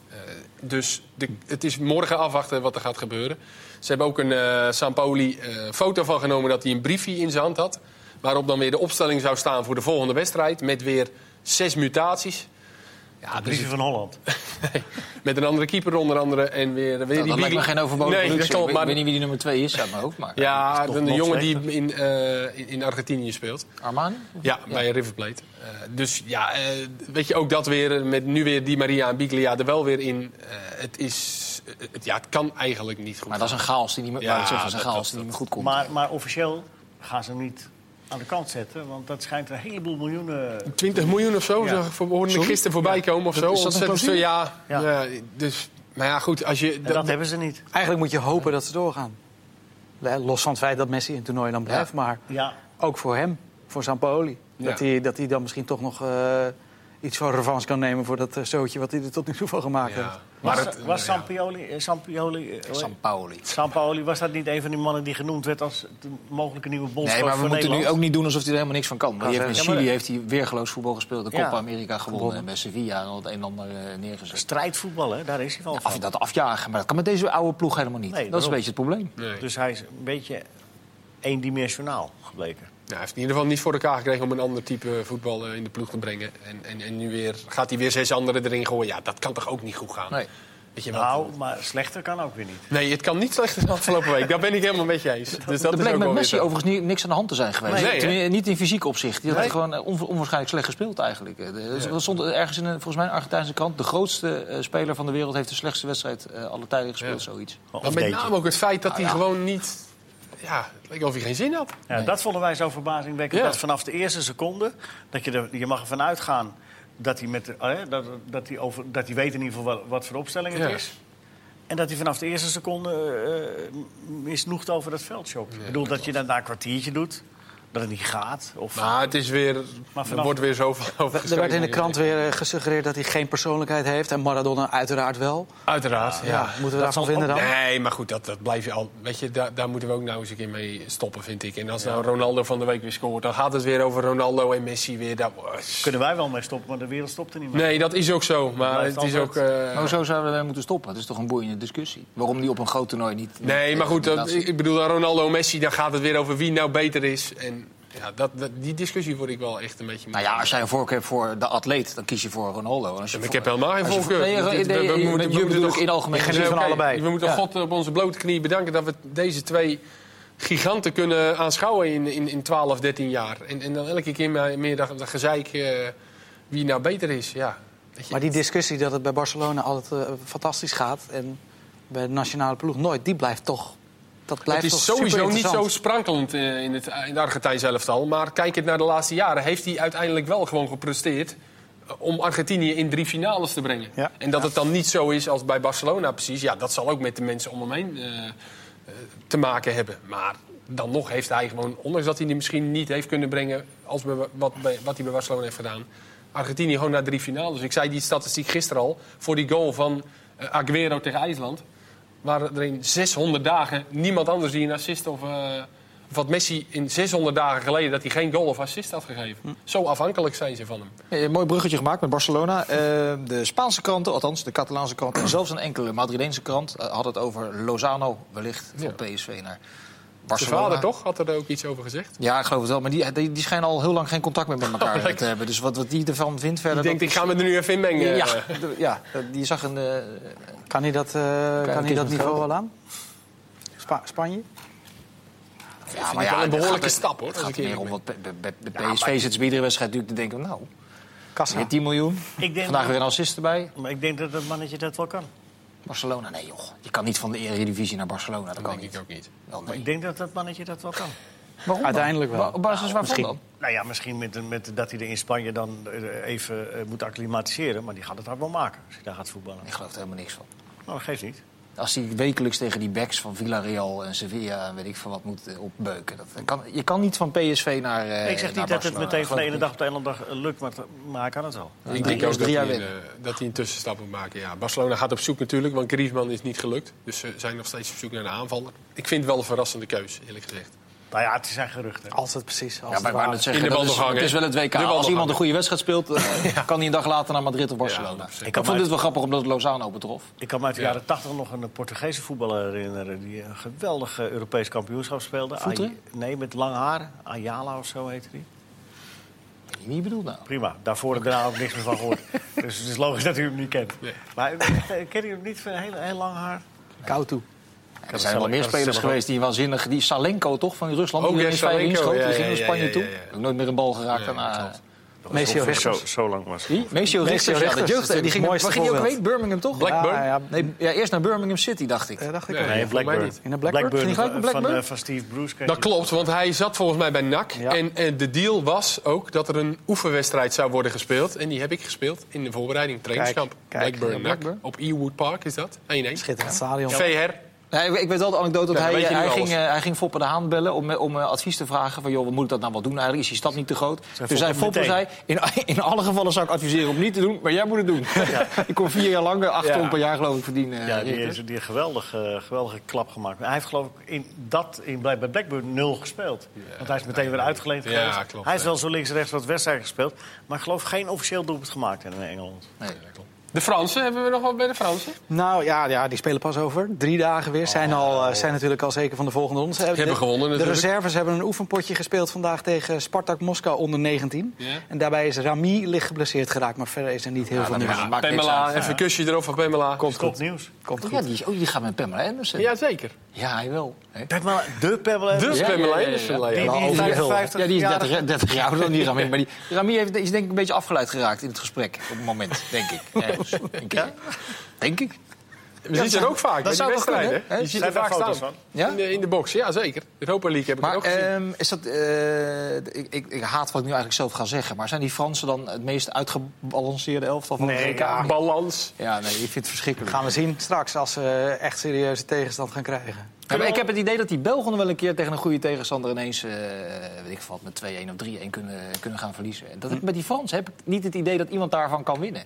D: Eh, dus de, het is morgen afwachten wat er gaat gebeuren. Ze hebben ook een eh Sampoli eh, foto van genomen dat hij een briefje in zijn hand had. Waarop dan weer de opstelling zou staan voor de volgende wedstrijd. Met weer zes mutaties. Ja, dus
B: Briefje van Holland.
D: met een andere keeper onder andere. En
A: Nou,
D: weer, weer
A: dat lijkt me
D: Bigli-
A: geen overbodige
D: Nee, dat
A: productie.
D: klopt.
A: ik weet-
D: Maar,
A: weet niet wie die nummer twee is uit mijn hoofd, maar
D: ja,
B: toch
D: een
B: nog
D: jongen die in, eh, in- in Argentinië speelt.
A: Armani?
D: Ja, bij River Plate. Eh, dus ja, eh, weet je, ook dat weer, eh, met nu weer Di Maria en Biglia er wel weer in. Eh, het is, eh, het, ja, het kan eigenlijk niet goed.
A: Maar dat is een chaos die niet meer,
D: Ja,
A: wou ik zeggen, dat is een
D: dat-
A: chaos
D: dat-
A: die niet meer goed komt.
B: Maar, maar officieel gaan ze hem niet aan de kant zetten, want dat schijnt een heleboel miljoenen.
D: 20 miljoen of zo,
B: Ja.
D: zag ik voor- hoorde ik gisteren voorbij komen of zo.
A: is dat een
D: Ontzettend veel,
A: clausule?
D: ja,
B: Ja.
D: ja, dus, maar ja, goed, als je...
B: En
D: Dat,
B: dat hebben ze niet.
C: Eigenlijk moet je hopen dat ze doorgaan. Los van het feit dat Messi in het toernooi dan blijft, maar
B: Ja,
C: ook voor hem, voor Sampaoli.
D: Ja.
C: Dat, hij, dat hij dan misschien toch nog eh, iets van revanche kan nemen voor dat eh, zootje wat hij er tot nu toe van gemaakt heeft.
D: ja. Nou,
B: was,
D: Maar het,
B: was
D: ja.
B: Sampioli, eh, Sampioli, eh,
A: San Pauli.
B: Sampaoli, was dat niet een van die mannen die genoemd werd als de mogelijke nieuwe bondscoach
A: Nee, maar we
B: voor
A: moeten nu
B: Nederland?
A: ook niet doen alsof hij er helemaal niks van kan. Maar die heeft in
B: Ja, maar-
A: Chili heeft hij weergeloos voetbal gespeeld. De
B: Ja.
A: Copa America gewonnen. En bij Sevilla en al het een en ander eh, neergezet.
B: Strijdvoetbal, hè? daar is hij wel
A: Af,
B: van.
A: dat afjagen, maar dat kan met deze oude ploeg helemaal niet.
B: Nee,
A: dat is een
B: daarom.
A: beetje het probleem.
D: Nee.
B: Dus hij is een beetje eendimensionaal gebleken.
D: hij heeft in ieder geval niet voor elkaar gekregen om een ander type voetbal eh, in de ploeg te brengen. En, en, en nu weer, gaat hij weer zes anderen erin gooien. Ja, dat kan toch ook niet goed gaan?
A: Nee.
D: Weet je, wat?
B: Nou, maar slechter kan ook weer niet.
D: Nee, het kan niet slechter dan afgelopen week. Daar ben ik helemaal met je eens. Dus dat
A: er
D: is
A: bleek
D: ook
A: met
D: wel
A: Messi
D: weer zo.
A: overigens ni- niks aan de hand te zijn geweest.
D: Nee, hè?
A: Tenminste, niet in fysiek opzicht. Die had
D: Nee.
A: gewoon eh, onwa- onwaarschijnlijk slecht gespeeld eigenlijk. Eh, de- Er stond ergens in, een- volgens mij, een Argentijnse krant... de grootste eh, speler van de wereld heeft de slechtste wedstrijd eh alle tijden gespeeld, zoiets.
B: Of
D: Maar met
B: deed je.
D: name ook het feit dat hij
A: ja.
D: gewoon niet... Ja, het leek of hij geen zin had.
B: Ja, Dat vonden wij zo verbazingwekkend.
D: Ja.
B: Dat vanaf de eerste seconde, dat je, er, je mag ervan uitgaan dat hij, met, de- eh, dat, dat hij, over, dat hij weet in ieder geval wel wat voor opstelling het
D: Ja.
B: is. En dat hij vanaf de eerste seconde eh, eh, misnoegd over dat veld shopt. Ik bedoel, dat je daarna een kwartiertje doet, dat het niet gaat. Of,
D: Maar het is weer...
B: vanaf-
D: Er wordt weer zoveel over
C: Er werd in de
D: geschreven.
C: krant weer eh, gesuggereerd dat hij geen persoonlijkheid heeft. En Maradona uiteraard wel.
D: Uiteraard,
C: Ja, moeten we daarvan vinden dan?
D: Nee, maar goed, dat, dat blijf je al. Weet je, daar, daar moeten we ook nou eens een keer mee stoppen, vind ik. En als nou Ronaldo van de week weer scoort, dan gaat het weer over Ronaldo en Messi weer. Dat,
B: Kunnen wij wel mee stoppen, maar de wereld stopt er niet mee.
D: nee, dat is ook zo. Maar
B: Blijft
D: het is ook.
B: altijd.
D: eh,
A: Maar Nou, zo zouden we daar moeten stoppen. Dat is toch een boeiende discussie. Waarom die op een groot toernooi niet...
D: nee,
A: niet-
D: maar goed, dat,
A: inderdaad-
D: ik bedoel, aan Ronaldo en Messi, dan gaat het weer over wie nou beter is. En ja, dat, dat- die discussie word ik wel echt een beetje.
A: Nou ja, als jij een voorkeur hebt voor de atleet, dan kies je voor Ronaldo. En als je
D: Maar ik
A: voor-
D: heb helemaal geen
A: als je voor-
D: voorkeur.
A: Nee,
D: Dit-
A: nee,
D: we- we
A: nee,
D: moeten- we
A: je
D: moeten
A: bedoelt
D: toch-
A: in algemeen.
C: geen
D: Nee,
C: zin van
D: oké.
C: allebei.
D: We moeten
C: Ja.
D: God op onze blote knieën bedanken dat we deze twee giganten kunnen aanschouwen in, in, in 12, 13 jaar. En, en dan elke keer maar meer dat, dat gezeik eh, wie nou beter is. Ja. Weet je,
C: Maar die discussie dat het bij Barcelona altijd eh, fantastisch gaat... en bij de nationale ploeg nooit, die blijft toch... Dat blijft
D: het is
C: toch
D: sowieso niet
C: superinteressant.
D: zo sprankelend eh, in het in de Argentijnse elftal. Maar kijk het naar de laatste jaren. Heeft hij uiteindelijk wel gewoon gepresteerd eh, om Argentinië in drie finales te brengen.
C: Ja.
D: En dat het dan niet zo is als bij Barcelona precies. Ja, dat zal ook met de mensen om hem heen eh, eh, te maken hebben. Maar dan nog heeft hij gewoon, ondanks dat hij die misschien niet heeft kunnen brengen... als bij, wat, bij- wat hij bij Barcelona heeft gedaan... Argentinië gewoon naar drie finales. Dus Ik zei die statistiek gisteren al voor die goal van eh, Aguero tegen IJsland waren er in 600 dagen niemand anders die een assist of... eh, of wat Messi in 600 dagen geleden dat hij geen goal of assist had gegeven.
A: Hm.
D: Zo afhankelijk zijn ze van hem.
A: Eh, Een mooi bruggetje gemaakt met Barcelona. Eh, de Spaanse kranten, althans de Catalaanse krant... en zelfs een enkele Madridense krant eh, had het over Lozano wellicht van PSV naar
D: Zijn
A: Barcelona.
D: vader toch had er ook iets over gezegd.
A: Ja, ik geloof het wel. Maar die, die, die schijnen al heel lang geen contact meer met elkaar
D: Oh, lekker.
A: te hebben. Dus wat, wat die ervan vindt
D: Ik
A: verder...
D: denk,
A: dat
D: ik ga me er nu even in mengen.
A: is-
D: eh.
A: ja, d- ja, die zag een... eh,
C: Kan hij dat, eh, kan hij
A: kiezen
C: dat
A: met
C: niveau
A: Groningen.
C: wel aan? Spa- Spanje?
A: ja,
D: wel een
A: het
D: behoorlijke
A: gaat er-
D: stap, hoor,
A: Het
D: als
A: gaat
D: ik
A: er meer om
D: eerlijk
A: wat bij bij- bij PSV zit ze bij iedere wedstrijd natuurlijk te denken... nou,
C: Kassa.
A: weer 10 miljoen,
B: Ik denk
A: vandaag
B: dat-
A: weer een assist erbij.
B: Maar ik denk dat dat mannetje dat wel kan.
A: Barcelona, nee joh. Je kan niet van de Eredivisie naar Barcelona. Dat
D: Dat
A: kan
D: denk
A: niet.
D: ik ook niet.
A: Wel, nee.
B: Ik denk dat dat mannetje dat wel kan.
A: Waarom dan?
C: Uiteindelijk wel.
A: Wa- Op basis waarvan
C: misschien.
A: dan?
B: Nou ja, misschien met, met, dat hij er in Spanje dan eh, even eh, moet acclimatiseren. Maar die gaat het hard wel maken als hij daar gaat voetballen.
A: Ik geloof er helemaal niks van.
B: Nou, dat geeft niet.
A: Als hij wekelijks tegen die backs van Villarreal en Sevilla en weet ik veel wat moet eh, opbeuken. Dat kan, je kan niet van PSV naar. eh,
B: ik zeg
A: naar
B: niet dat het
A: Barcelona.
B: meteen van de ene
A: Geloof
B: dag op de andere dag eh, lukt, maar, maar hij kan het wel.
A: ik
D: Ik
A: niet.
D: denk ook dat
A: drie jaar
D: hij, een,
A: winnen.
D: eh, dat hij een tussenstap moet maken. Ja, Barcelona gaat op zoek natuurlijk, want Griezmann is niet gelukt. Dus ze zijn nog steeds op zoek naar een aanvaller. Ik vind het wel een verrassende keus, eerlijk gezegd.
B: Nou ja, het zijn geruchten.
C: Als het precies. Als
A: Ja, maar
C: het
A: ik wou
C: waar
A: net
C: is.
A: zeggen,
D: In de
A: dat is,
D: wandelgangen.
A: het is wel het WK.
D: De
A: Als iemand een
D: wandelgangen.
A: goede wedstrijd speelt, eh, kan hij een dag later naar Madrid of Barcelona.
D: precies.
A: ik vond het wel grappig omdat het Lozano betrof.
B: Ik kan me uit de
D: Ja.
B: jaren 80 nog een eh, Portugese voetballer herinneren... die een geweldig eh, Europees kampioenschap speelde.
A: Voeten?
B: Ay- nee, met lang haar. Ayala of zo heette die.
A: Weet je Wie bedoelt nou?
B: Prima. Daarvoor heb ik daar ook niks meer van gehoord. dus het is logisch dat u hem niet kent.
D: Nee.
B: Maar eh, kent u hem niet van heel, heel lang haar?
C: Koud toe.
A: Er
B: zelf-
A: zijn wel
B: ik
A: meer
B: had het
A: spelers
B: zelf ook.
A: geweest die waanzinnig. Die Salenko toch van Rusland?
D: Ook,
A: die
D: ja,
A: ineens vijf
D: Salenko,
A: inschoot.
D: ja,
A: Die ging
D: ja,
A: naar
D: ja,
A: Spanje
D: ja,
A: toe.
D: ja, ja.
A: Ook nooit meer een bal geraakt.
D: Nee,
A: daarna.
D: klopt.
C: Messi Ah,
B: Zo,
C: Richters.
B: zo lang was het.
A: Wie? Meestal
C: Maceo
A: Richters, ja, de
C: Richters,
A: jeugd.
C: dat is
A: Die ging,
C: het
A: waar
C: mooiste
A: ging die ook
C: voorbeeld.
A: heen? Birmingham toch?
D: Blackburn?
C: Ja, ja,
A: Nee, ja, eerst naar Birmingham City, dacht ik.
C: eh, dacht ik
D: Nee.
B: Nee,
C: ook.
D: volgens mij
B: Blackburn.
D: niet.
C: In de Blackburn?
A: Ging die
B: van,
A: gelijk op Blackburn?
B: Van, eh, van Steve Bruce. kreeg
D: Dat
B: hij-
D: klopt, want hij zat volgens mij bij NAC.
C: Ja.
D: En eh, de deal was ook dat er een oefenwedstrijd zou worden gespeeld. En die heb ik gespeeld in de voorbereiding. Trainingskamp.
C: kijk.
D: Blackburn,
A: Ja, Blackburn.
D: NAC. Op Ewood Park is dat. 1-1.
C: Schitterend stadion.
D: VR.
A: Nee, ik- ik weet wel de anekdote dat
D: Ja, dan
A: hij,
D: weet je nu
A: hij,
D: alles.
A: ging, eh, hij ging Foppe de Haan bellen om, eh, om eh, advies te vragen. Van, joh, wat moet ik dat nou wel doen? Eigenlijk is die stad niet te groot.
B: Foppe
A: Toen zei Foppe, zei,
B: meteen.
A: in, in alle gevallen zou ik adviseren om niet te doen, maar jij moet het doen. ik kon vier jaar lang, eh, acht
D: Ja.
A: ton per jaar geloof ik verdienen. eh,
B: Ja, die
A: Richters.
B: heeft die heeft een geweldige, eh, geweldige klap gemaakt. Hij heeft geloof ik in dat, in, bij bij Blackburn nul gespeeld. Want hij is meteen weer uitgeleend
D: Ja,
B: geweest.
D: klopt,
B: hij is
D: ja.
B: wel zo links en rechts wat wedstrijden gespeeld. Maar ik geloof geen officieel doelpunt gemaakt in eh, Engeland.
A: Nee.
D: De Fransen, hebben we nog wat bij de Fransen?
C: Nou ja, ja, die spelen pas over drie dagen weer. Zijn, al, eh, zijn natuurlijk al zeker van de volgende ronde. Ze
D: Oh. Hebben gewonnen
C: De
D: natuurlijk.
C: reserves hebben een oefenpotje gespeeld vandaag tegen Spartak Moskou onder 19.
D: Ja.
C: En daarbij is Rami licht geblesseerd geraakt. Maar verder is er niet heel veel nieuws.
A: maakt niks
D: Pamela,
A: uit.
D: even een kusje erop van Pamela.
B: Komt goed nieuws.
C: Komt
A: Ja,
C: goed.
A: die, is- oh, die gaat met Pamela Anderson. Ja,
D: Jazeker.
A: hij wel. Hè?
B: Pamela, de Pamela.
D: Dus
A: Ja,
D: Pamela
A: ja, ja,
D: Anderson,
A: ja.
D: ja,
B: Die-
D: Maar
B: die-
D: over-
A: Ja,
B: 55
A: ja, die is 30,
B: jarige.
A: 30 jaar ouder dan die Rami. Maar die, Rami heeft, is denk ik een beetje afgeleid geraakt in het gesprek op het moment, denk ik. Ergens, een keer. Denk ik.
D: We zien ze er ook vaak bij die
A: zou wel
D: wedstrijden.
A: kunnen, hè?
D: hè? Je ziet er
B: Zijn daar
D: vaak
B: foto's
D: staan.
B: van?
A: Ja?
D: In de- In de box, ja zeker. Europa League heb ik er ook
A: Maar
D: gezien.
A: ehm, is dat, eh, ik, ik, ik haat wat ik nu eigenlijk zelf ga zeggen, maar zijn die Fransen dan het meest uitgebalanceerde elftal van de
B: Nee,
A: WK?
B: ja.
D: Balans.
A: Ja, nee, ik vind het verschrikkelijk.
C: Gaan we zien straks als ze echt serieuze tegenstand gaan krijgen.
A: Ja, maar ik heb het idee dat die Belgen nog wel een keer tegen een goede tegenstander ineens eh, weet ik veel wat, met 2-1 of 3-1 kunnen, kunnen gaan verliezen. En Dat ik met die Fransen heb ik niet het idee dat iemand daarvan kan winnen.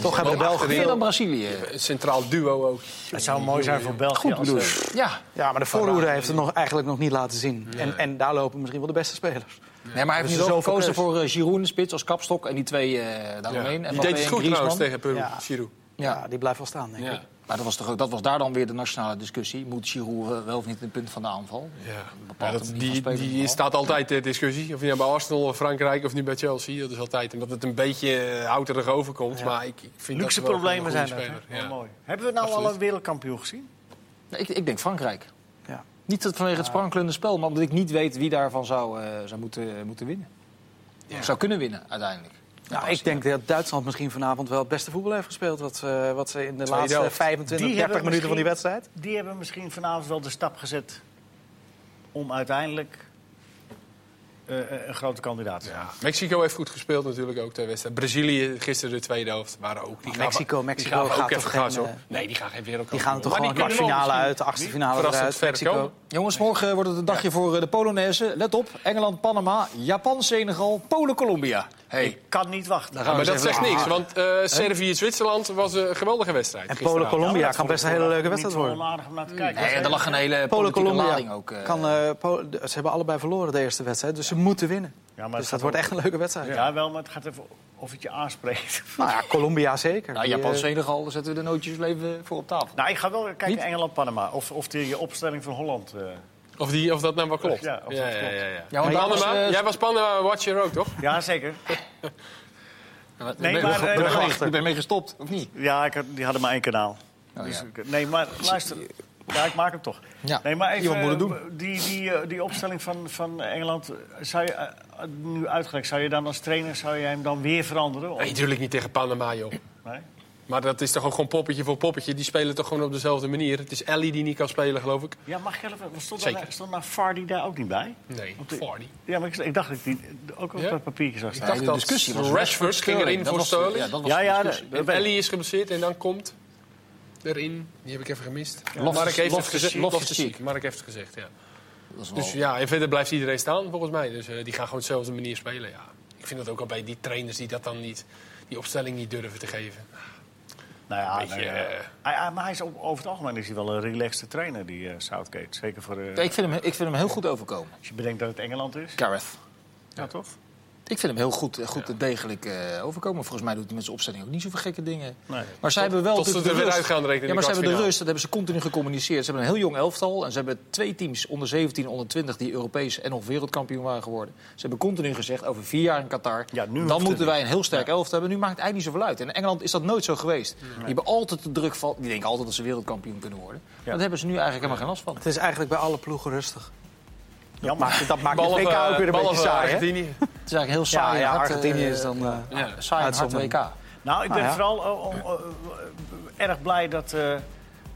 C: Toch hebben de Belgen
A: meer
C: veel-
A: dan Brazilië.
D: Een centraal duo ook.
B: Het zou mooi zijn voor België. als, eh,
A: Ja,
C: Ja, maar de voorhoeder heeft het nog, eigenlijk nog niet laten zien. En, en daar lopen misschien wel de beste spelers.
A: nee, maar hij heeft
C: Dus
A: nu
C: er
A: wel
C: is zoveel
A: gekozen
C: keus.
A: voor eh, Giroud in de spits als kapstok en die twee eh daaromheen. En
D: Die deed het goed trouwens tegen Peru,
C: Ja.
D: Giroud.
A: Ja.
C: Ja, die blijft wel staan, denk ik.
D: Ja.
A: Maar dat was, toch, ook- dat was daar dan weer de nationale discussie. Moet Giroud eh, wel of niet een punt van de aanval?
D: Ja.
A: bepaalde
D: dat,
A: manier van
D: die,
A: spelen van
D: die
A: Bal.
D: staat altijd de discussie. Of je nou bij Arsenal of Frankrijk of nu bij Chelsea. Dat is altijd omdat het een beetje eh, houterig overkomt. Maar ik, ik vind
B: Luxe
D: dat wel
B: problemen
D: een
B: zijn
D: goede
B: dat.
D: speler.
B: hè? Wel
D: Ja.
B: Mooi. Hebben we nou al
D: Absoluut.
B: een wereldkampioen gezien?
A: Nee, ik, ik denk Frankrijk.
C: Ja.
A: Niet dat vanwege het sprankelende spel, maar omdat ik niet weet wie daarvan zou, eh, zou moeten, moeten winnen. Zou kunnen winnen uiteindelijk.
C: Nou, ik denk dat Duitsland misschien vanavond wel het beste voetbal heeft gespeeld. Wat, eh, wat ze in de
D: Tweede
C: laatste
D: helft.
B: Die
C: 25, 30
B: hebben
C: minuten van die wedstrijd.
B: Die hebben misschien vanavond wel de stap gezet om uiteindelijk eh, eh, een grote kandidaat te zijn.
D: Ja. Mexico heeft goed gespeeld natuurlijk ook ter wedstrijd. Brazilië gisteren de tweede helft waren ook. Die
C: Maar
D: gaven-
C: Mexico-
D: die
C: Mexico
D: gaven
C: gaat
D: ook even
C: toch geen,
D: gas hoor.
C: eh,
D: Nee, die gaan geen wereldkampioen.
C: Die gaan toch
D: worden.
C: gewoon
D: Maar die kunnen
C: kwartfinale
D: wel
C: uit, de achtste finale
D: Verrassend
C: eruit.
D: ver
C: Mexico.
D: komen.
A: Jongens, morgen wordt het een dagje voor eh, de Polonaise. Let op, Engeland, Panama, Japan, Senegal, Polen, Colombia. Hey.
B: Ik kan niet wachten.
D: Ja, maar dat zegt niks, want eh Servië-Zwitserland was een geweldige wedstrijd.
C: En
D: gisteravond.
C: Polen-Colombia kan best een hele leuke wedstrijd worden.
B: Onaardig om naar te kijken.
A: Nee, er lag een hele politieke lading ook. eh.
C: Kan, eh, Pol- de- ze hebben allebei verloren de eerste wedstrijd, dus ze moeten winnen.
B: Ja, maar het
C: dus
B: gaat
C: dat wordt
B: om-
C: echt een leuke wedstrijd.
B: Ja, wel, maar het gaat even of het je aanspreekt.
C: Nou ja, Colombia zeker.
A: nou,
C: Die,
A: Japan,
C: eh,
A: Senegal, daar zetten we de nootjes wel even voor op tafel.
B: Nou, ik ga wel
A: Niet?
B: kijken Engeland-Panama. Of, of die opstelling van Holland. eh.
D: Of, die, of dat nou wel klopt.
B: Ja, of dat
D: ja, ja,
B: klopt.
D: ja, ja.
A: Ja, want
D: Panama,
A: anders, eh,
D: jij was Panama-watcher ook, toch?
B: Ja, zeker.
A: Ik ben-
B: maar, eh,
A: ik ben
B: wacht.
A: mee- Ik ben mee gestopt, of niet?
B: Ja, ik had, die hadden maar één kanaal.
C: Nou
B: Dus ik- nee, maar luister. Ja, ik maak hem toch.
A: Ja,
B: nee, maar
A: iemand moet het doen.
B: eh, Die, die, eh, die opstelling van, van Engeland, zou je, eh, nu uitgelegd, zou je dan als trainer zou jij hem dan weer veranderen? Of,
D: Nee, natuurlijk niet tegen Panama, joh.
B: nee?
D: Maar dat is toch ook gewoon poppetje voor poppetje. Die spelen toch gewoon op dezelfde manier. Het is Ellie die niet kan spelen, geloof ik.
B: Ja, mag je even, stond,
D: Zeker.
B: daar, stond daar Vardy daar ook niet bij?
D: Nee,
B: Op de-
D: Vardy.
B: Ja, maar ik, ik dacht dat ik die ook op
D: Ja?
B: dat papiertje zag
D: Ik
B: staan.
D: dacht dat Rashford ging erin voor Sterling.
A: dat
B: Ja,
A: de
B: ja,
A: discussie.
B: de-
D: En Ellie is geblesseerd en dan komt erin. Die heb ik even gemist. Mark heeft het
A: Loftus-
D: gezegd.
A: Loftus
D: Loftus
A: Cheek.
D: Cheek. Mark heeft het gezegd, ja.
A: Dat is wel-
D: Dus ja, en verder blijft iedereen staan, volgens mij. Dus eh, die gaan gewoon dezelfde manier spelen, ja. Ik vind dat ook al bij die trainers die dat dan niet... die opstelling niet durven te geven.
B: Nou ja,
D: Beetje,
B: nee, ja.
D: eh,
B: Hij- hij- maar hij is, op- over het algemeen is hij wel een relaxte trainer, die eh, Southgate. Zeker voor, eh,
A: Ik vind, hem, ik vind hem heel goed overkomen,
B: als je bedenkt dat het Engeland is.
A: Gareth.
B: Ja, toch?
A: Ik vind hem heel goed, goed en degelijk eh, overkomen. Volgens mij doet hij met zijn opstelling ook niet zoveel gekke dingen.
B: Nee.
A: Maar zij hebben wel
D: tot ze
A: natuurlijk
D: er
A: de
D: weer
A: rust.
D: uit gaan rekenen in
A: Ja, maar
D: de
A: ze hebben de
D: kwartfinale.
A: rust. Dat hebben ze continu gecommuniceerd. Ze hebben een heel jong elftal. En ze hebben twee teams onder 17, onder 20 die Europees en of wereldkampioen waren geworden. Ze hebben continu gezegd over vier jaar in Qatar.
B: Ja, nu hoeft
A: dan
B: het
A: moeten
B: niet.
A: wij een heel sterk elftal hebben. Nu maakt het eigenlijk niet zoveel uit. En in Engeland is dat nooit zo geweest. Die hebben altijd de druk van. Die denken altijd dat ze wereldkampioen kunnen worden. Maar dat hebben ze nu eigenlijk helemaal geen last van.
C: Het is eigenlijk bij alle ploegen rustig.
B: Jammer.
C: Maar dat maakt de
D: Behalve- eh,
C: WK ook weer een beetje
D: behalve
C: saai, hè?
D: Argentinië.
A: Het is eigenlijk heel
C: Ja,
A: saai.
C: ja,
A: hard, eh,
C: Argentinië is dan... eh,
D: Ja.
A: Saai en hard
C: Uitzondering.
A: WK.
B: Nou, ik ben
C: Ah, ja.
B: vooral oh, oh, oh, eh, erg blij dat. eh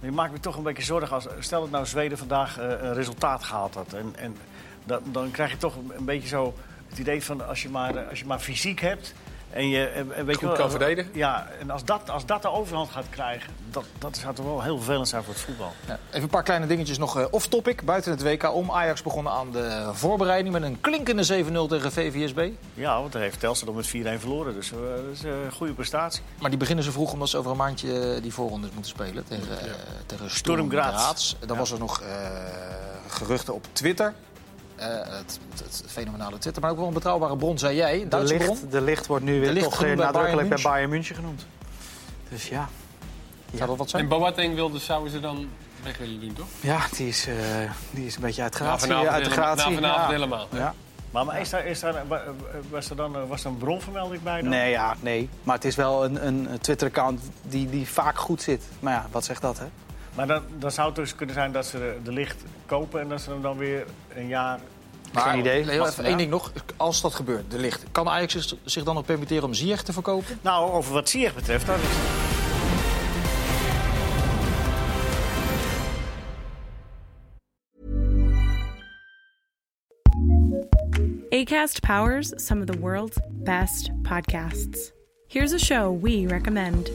B: je maakt me toch een beetje zorgen als. Stel dat nou Zweden vandaag eh, een resultaat gehaald had. En, en dat, dan krijg je toch een beetje zo het idee van als je maar, eh, als je maar fysiek hebt. En je en, en weet je
D: Goed
B: wel,
D: kan
B: als-
D: verdedigen.
B: Ja, en als dat, als dat de overhand gaat krijgen, dat, dat zou toch wel heel vervelend zijn voor het voetbal.
A: Ja, Even een paar kleine dingetjes nog eh, off-topic. Buiten het WK om. Ajax begon aan de voorbereiding met een klinkende 7-0 tegen VVSB.
B: Ja, want daar heeft Telstra dan met 4-1 verloren. Dus eh, dat is eh, een goede prestatie.
A: Maar die beginnen ze vroeg omdat ze over een maandje eh, die voorrondes moeten spelen tegen, eh tegen Sturm
B: Sturm Graz.
A: Graz. Dan was er nog eh, geruchten op Twitter. Eh, het, het, het fenomenale Twitter, maar ook wel een betrouwbare bron, zei jij. Een
C: De
A: Duitse bron.
C: licht, de licht wordt nu
A: De
C: weer
A: Ligt
C: toch
A: genoemd
C: weer
A: bij
C: nadrukkelijk
A: Bayern
C: bij Bayern München genoemd. Dus ja.
A: Zou dat wat zijn?
D: En Boateng wilde, zouden ze dan weg willen doen, toch?
C: Ja, die is, eh, die is een beetje uit
D: Na
C: gratie.
D: vanavond,
C: uit de
D: helemaal, na
C: gratie.
D: vanavond
C: ja.
D: helemaal.
C: Ja.
B: Maar, maar is daar, is daar, wa- was er dan eh, was er een bronvermelding bij? Dan?
C: Nee, ja, nee. Maar het is wel een, een Twitter-account die, die vaak goed zit. Maar ja, wat zegt dat, hè?
B: Maar dan, dan zou het dus kunnen zijn dat ze de, de licht kopen en dat ze hem dan weer een jaar.
C: Geen idee.
A: Leo,
C: Wat
A: even
C: vandaan?
A: één ding nog. Als dat gebeurt, de licht. Kan Ajax zich- zich dan nog permitteren om Ziyech te verkopen?
B: Nou, over wat Ziyech betreft, dat is.
E: ACAST powers some of the world's best podcasts. Here's a show we recommend.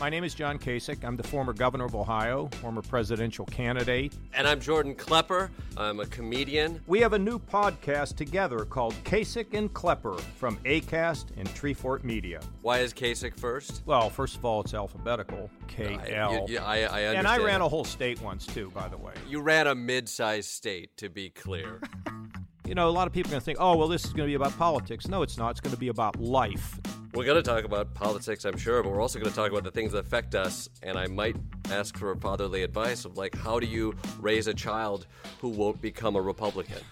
F: My name is John Kasich. I'm the former governor of Ohio, former presidential candidate.
G: And I'm Jordan Klepper. I'm a comedian.
F: We have a new podcast together called Kasich and Klepper from ACAST and Treefort Media.
G: Why is Kasich first?
F: Well, first of all, it's alphabetical
G: I-
F: K
G: you-
F: L.
G: you- I, I understand.
F: And I ran a whole state once, too, by the way.
G: You ran a mid-sized state, to be clear.
F: You know, a lot of people are going to think, oh, well, this is going to be about politics. No, it's not. It's going to be about life.
G: we're going to talk about politics, I'm sure, but we're also going to talk about the things that affect us. And I might ask for fatherly advice of like, how do you raise a child who won't become a Republican?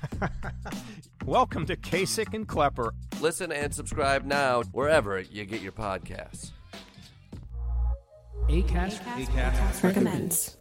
F: Welcome to Kasich and Klepper.
G: Listen and subscribe now wherever you get your podcasts.
E: recommends.